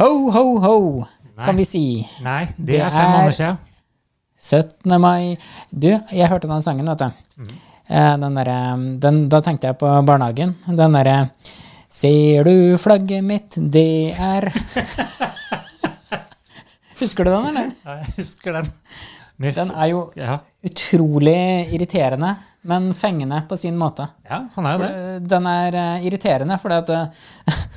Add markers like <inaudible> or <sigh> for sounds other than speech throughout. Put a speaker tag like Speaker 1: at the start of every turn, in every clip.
Speaker 1: Ho, ho, ho,
Speaker 2: Nei.
Speaker 1: kan vi si.
Speaker 2: Nei, det,
Speaker 1: Det
Speaker 2: er fem
Speaker 1: er-
Speaker 2: måneder siden.
Speaker 1: 17. mai Du, jeg hørte den sangen, vet du.
Speaker 2: Mm.
Speaker 1: Eh, Den derre den, Da tenkte jeg på barnehagen. Den derre Ser du flagget mitt, det er <laughs> Husker du den, eller?
Speaker 2: Ja, jeg husker den. Men-
Speaker 1: Den er jo-
Speaker 2: Ja,
Speaker 1: Utrolig irriterende, men fengende på sin måte.
Speaker 2: ja han er jo det.
Speaker 1: For, eh, Den er eh, irriterende fordi at eh,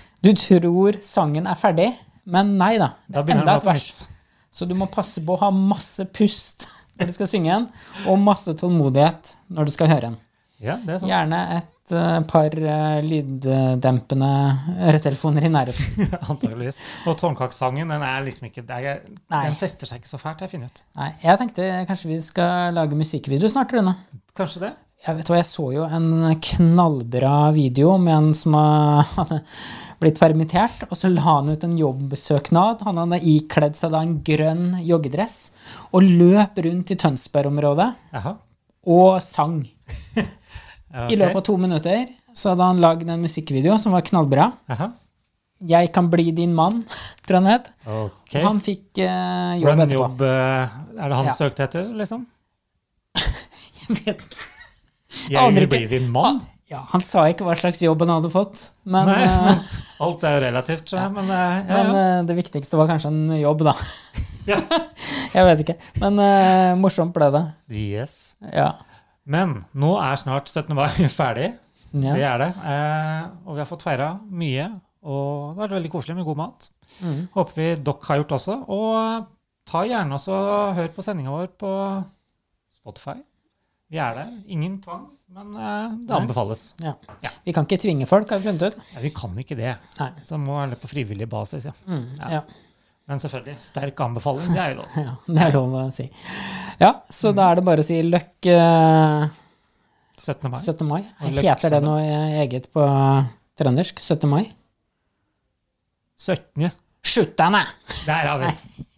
Speaker 1: <laughs> du tror sangen er ferdig, men nei da. Det
Speaker 2: Da
Speaker 1: er
Speaker 2: begynner
Speaker 1: enda
Speaker 2: den
Speaker 1: et
Speaker 2: på
Speaker 1: vers.
Speaker 2: nytt.
Speaker 1: Så du må passe på å ha masse pust <laughs> når du skal synge den, og masse tålmodighet når du skal høre den.
Speaker 2: Ja, det er <laughs> sant.
Speaker 1: Gjerne et eh, par eh, lyddempende øretelefoner i nærheten.
Speaker 2: Antakeligvis. Og tårnkakesangen, den er liksom ikke det er,
Speaker 1: Nei.
Speaker 2: Den fester seg ikke så fælt, jeg finner ut.
Speaker 1: Nei, jeg tenkte kanskje vi skal lage musikkvideo snart, Rune.
Speaker 2: Kanskje det?
Speaker 1: Jeg vet hva, jeg så jo en knallbra video om en som har- <laughs> hadde blitt permittert, og så la han ut en jobbsøknad. Han hadde ikledd seg da en grønn joggedress og løp rundt i Tønsberg-området
Speaker 2: Jaha.
Speaker 1: og sang.
Speaker 2: Ja,
Speaker 1: I
Speaker 2: ok.
Speaker 1: løpet av to minutter så hadde han lagd en musikkvideo som var knallbra.
Speaker 2: Jaha.
Speaker 1: 'Jeg kan bli din mann', <laughs> tror jeg den het.
Speaker 2: Ok.
Speaker 1: Han fikk eh, jobb
Speaker 2: Hvordan
Speaker 1: etterpå. <laughs>
Speaker 2: jobb eh, er det han
Speaker 1: Ja.
Speaker 2: søkte etter, liksom?
Speaker 1: Jeg vet ikke.
Speaker 2: Jeg
Speaker 1: Aner
Speaker 2: vil
Speaker 1: ikke.
Speaker 2: bli din mann.
Speaker 1: Ja, han sa ikke hva slags jobb han hadde fått, men,
Speaker 2: Nei,
Speaker 1: eh,
Speaker 2: men alt er jo relativt, så, men, eh, <laughs> ja,
Speaker 1: men
Speaker 2: ja.
Speaker 1: eh, det viktigste var kanskje en jobb, da.
Speaker 2: Ja.
Speaker 1: <laughs> jeg vet ikke. Men eh, morsomt ble det.
Speaker 2: Yes.
Speaker 1: Ja.
Speaker 2: Men nå er snart 17. mai <laughs> ferdig.
Speaker 1: ja.
Speaker 2: Det er det. Eh, og vi har fått feira mye, og det har vært veldig koselig med god mat.
Speaker 1: Mm.
Speaker 2: Håper vi dere har gjort også. Og eh, ta gjerne også og hør på sendinga vår på Spotify. Vi er der. Ingen tvang, men eh, det
Speaker 1: Nei.
Speaker 2: anbefales.
Speaker 1: Ja.
Speaker 2: Ja.
Speaker 1: Vi kan ikke tvinge folk, har vi funnet ut.
Speaker 2: Ja, vi kan ikke det,
Speaker 1: Nei.
Speaker 2: så det må være på frivillig basis. ja.
Speaker 1: Mm, ja. <laughs>
Speaker 2: Men selvfølgelig, sterk anbefaling, det er jo lov.
Speaker 1: Ja, det er lov å si. Ja, så da er det bare å si løkk eh,
Speaker 2: 17. mai.
Speaker 1: 17. mai.
Speaker 2: Og løkk
Speaker 1: Heter det
Speaker 2: sammen.
Speaker 1: noe eh, eget på trøndersk? 17. mai?
Speaker 2: 17.
Speaker 1: Sjuttende!
Speaker 2: Der har vi